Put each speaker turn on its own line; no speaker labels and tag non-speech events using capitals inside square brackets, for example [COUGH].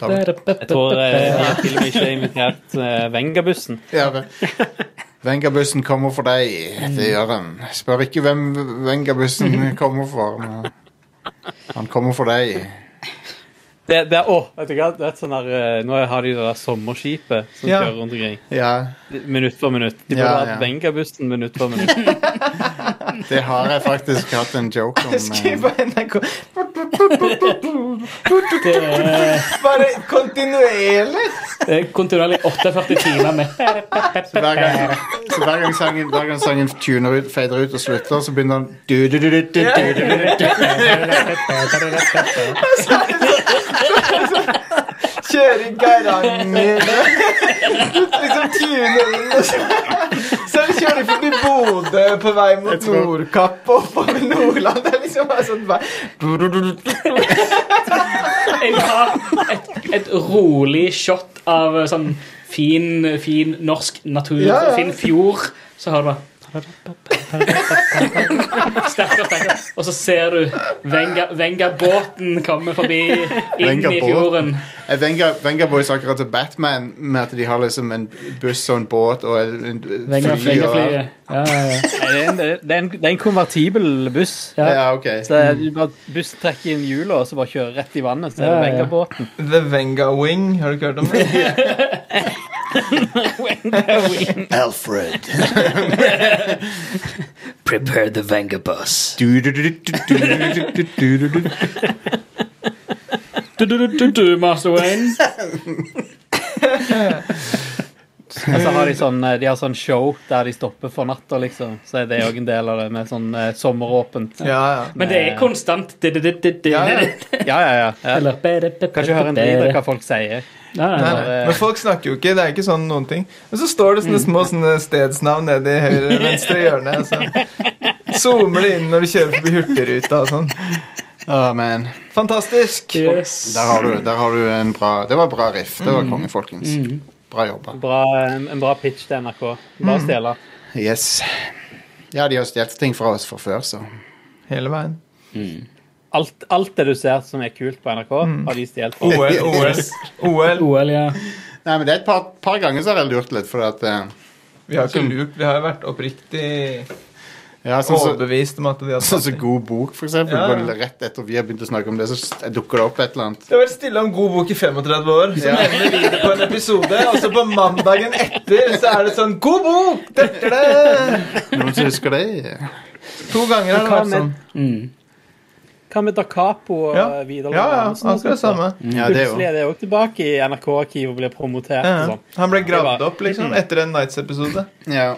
Da vet
Jeg
[LAUGHS]
tror eh, jeg har til og med ikke har invitert eh, Vengabussen.
Ja, ve- Vengabussen kommer for deg. Det gjør han. Spør ikke hvem Vengabussen kommer for. men Han kommer for deg.
Det, det, er- å, vet du hva? Det er et sånn der, eh, nå har de det der sommerskipet som
Ja.
kjører rundt omkring.
Ja,
Minutt for minutt. De burde
Ja,
hatt
ja.
Vengabussen minutt for minutt. [LAUGHS]
det har jeg faktisk hatt en joke om.
Skriv
eh,
på NRK.
Det er,
Bare kontinuerlig.
det er kontinuerlig 48 timer med
Så hver gang, så hver gang sangen, hver gang sangen tuner ut, fader ut og slutter, så begynner han du, du, du, du, du, du, du, du, du.
Kjøre i Geiranger. liksom tune inn. og Så så kjører de forbi Bodø på vei
Jeg
mot
tror-
Nordkapp og oppover Nordland. Det er liksom bare sånn vei.
Jeg vil ha et, et rolig shot av eh, sånn fin, fin norsk natur,
Ja, ja.
fin fjord. Så har du bare Sterkere, sterkere. Og så ser du Venga- Venga-båten komme forbi inn i
Venga-båten.
fjorden.
Eh, Venga, Venga Boys er akkurat til Batman, med at de har liksom en buss og en båt og en, en
Venga-
fly. og-
Venga-flyet. Ja, ja,
[LAUGHS]
ja.
Nei, Det er en, det er en, det er en konvertibel buss.
Ja.
Ja, ok.
Så det er- du bare Bussen trekker inn hjulet og så bare kjører rett i vannet. Så er det
Ja, ja, ja.
Vengabåten.
The Venga Wing, har du ikke hørt om det?
Alfred.
Prepare the Venga bus.
Du, du, du, du, du, du, du, du, du, du, du.
Du, du, du, du, du, Master Wayne.
Og så har de sånn, eh, de har sånn show der de stopper for natta, liksom. Så er det òg en del av det, med sånn eh, sommeråpent.
Ja, ja.
Men det er konstant di, di, di, di, di.
Ja, ja.
Ja, ja, ja. ja.
Eller be, de, be,
Kan ikke høre en
be,
drit av
be.
hva folk sier.
Nei, nei,
Nei,
nei.
nei. Men folk snakker jo ikke. Det er ikke sånn noen ting. Men så står det sånne små sånne stedsnavn nede i høyre venstre hjørne. og Så zoomer det inn når du kjører forbi Hurtigruta og sånn.
Å, man.
Fantastisk.
Yes.
Der har, du, der har du en bra Det var bra riff. Det var konge, folkens. Bra jobba.
Bra, en, en bra pitch til NRK. Bare stjele.
Yes. Ja, de har stjålet ting fra oss fra før, så.
Hele veien.
Alt, alt det du ser som er kult på NRK,
Mm.
har de stjålet fra.
[LAUGHS] OL, OL. OL.
OL, ja.
Nei, men det er et par, par ganger så har jeg lurt litt, fordi at eh,
Vi har ikke lurt. Vi har jo vært oppriktig
Ja, sånn som så,
overbevist om at de har
sånn som God bok, for eksempel.
Ja, ja.
Bare Rett etter vi har begynt å snakke om det, så s- dukker det opp et eller annet.
Det har vært stille om God bok i 35 år. Så nevner vi det på en episode, og så på mandagen etter så er det sånn God bok! Dekker det!
Noen som husker det?
To ganger har det vært sånn.
Mm.
Hva med Da Capo og
Ja,
eh, Vidar
ja, ja
Lorentzen og
akkurat det
sånt da?
samme.
Ja, det
Plutselig
òg.
er det òg tilbake i NRK-arkivet og blir promotert.
Ja,
og
ja.
sånn.
Han ble gravd opp liksom etter en Nights-episode.
Ja.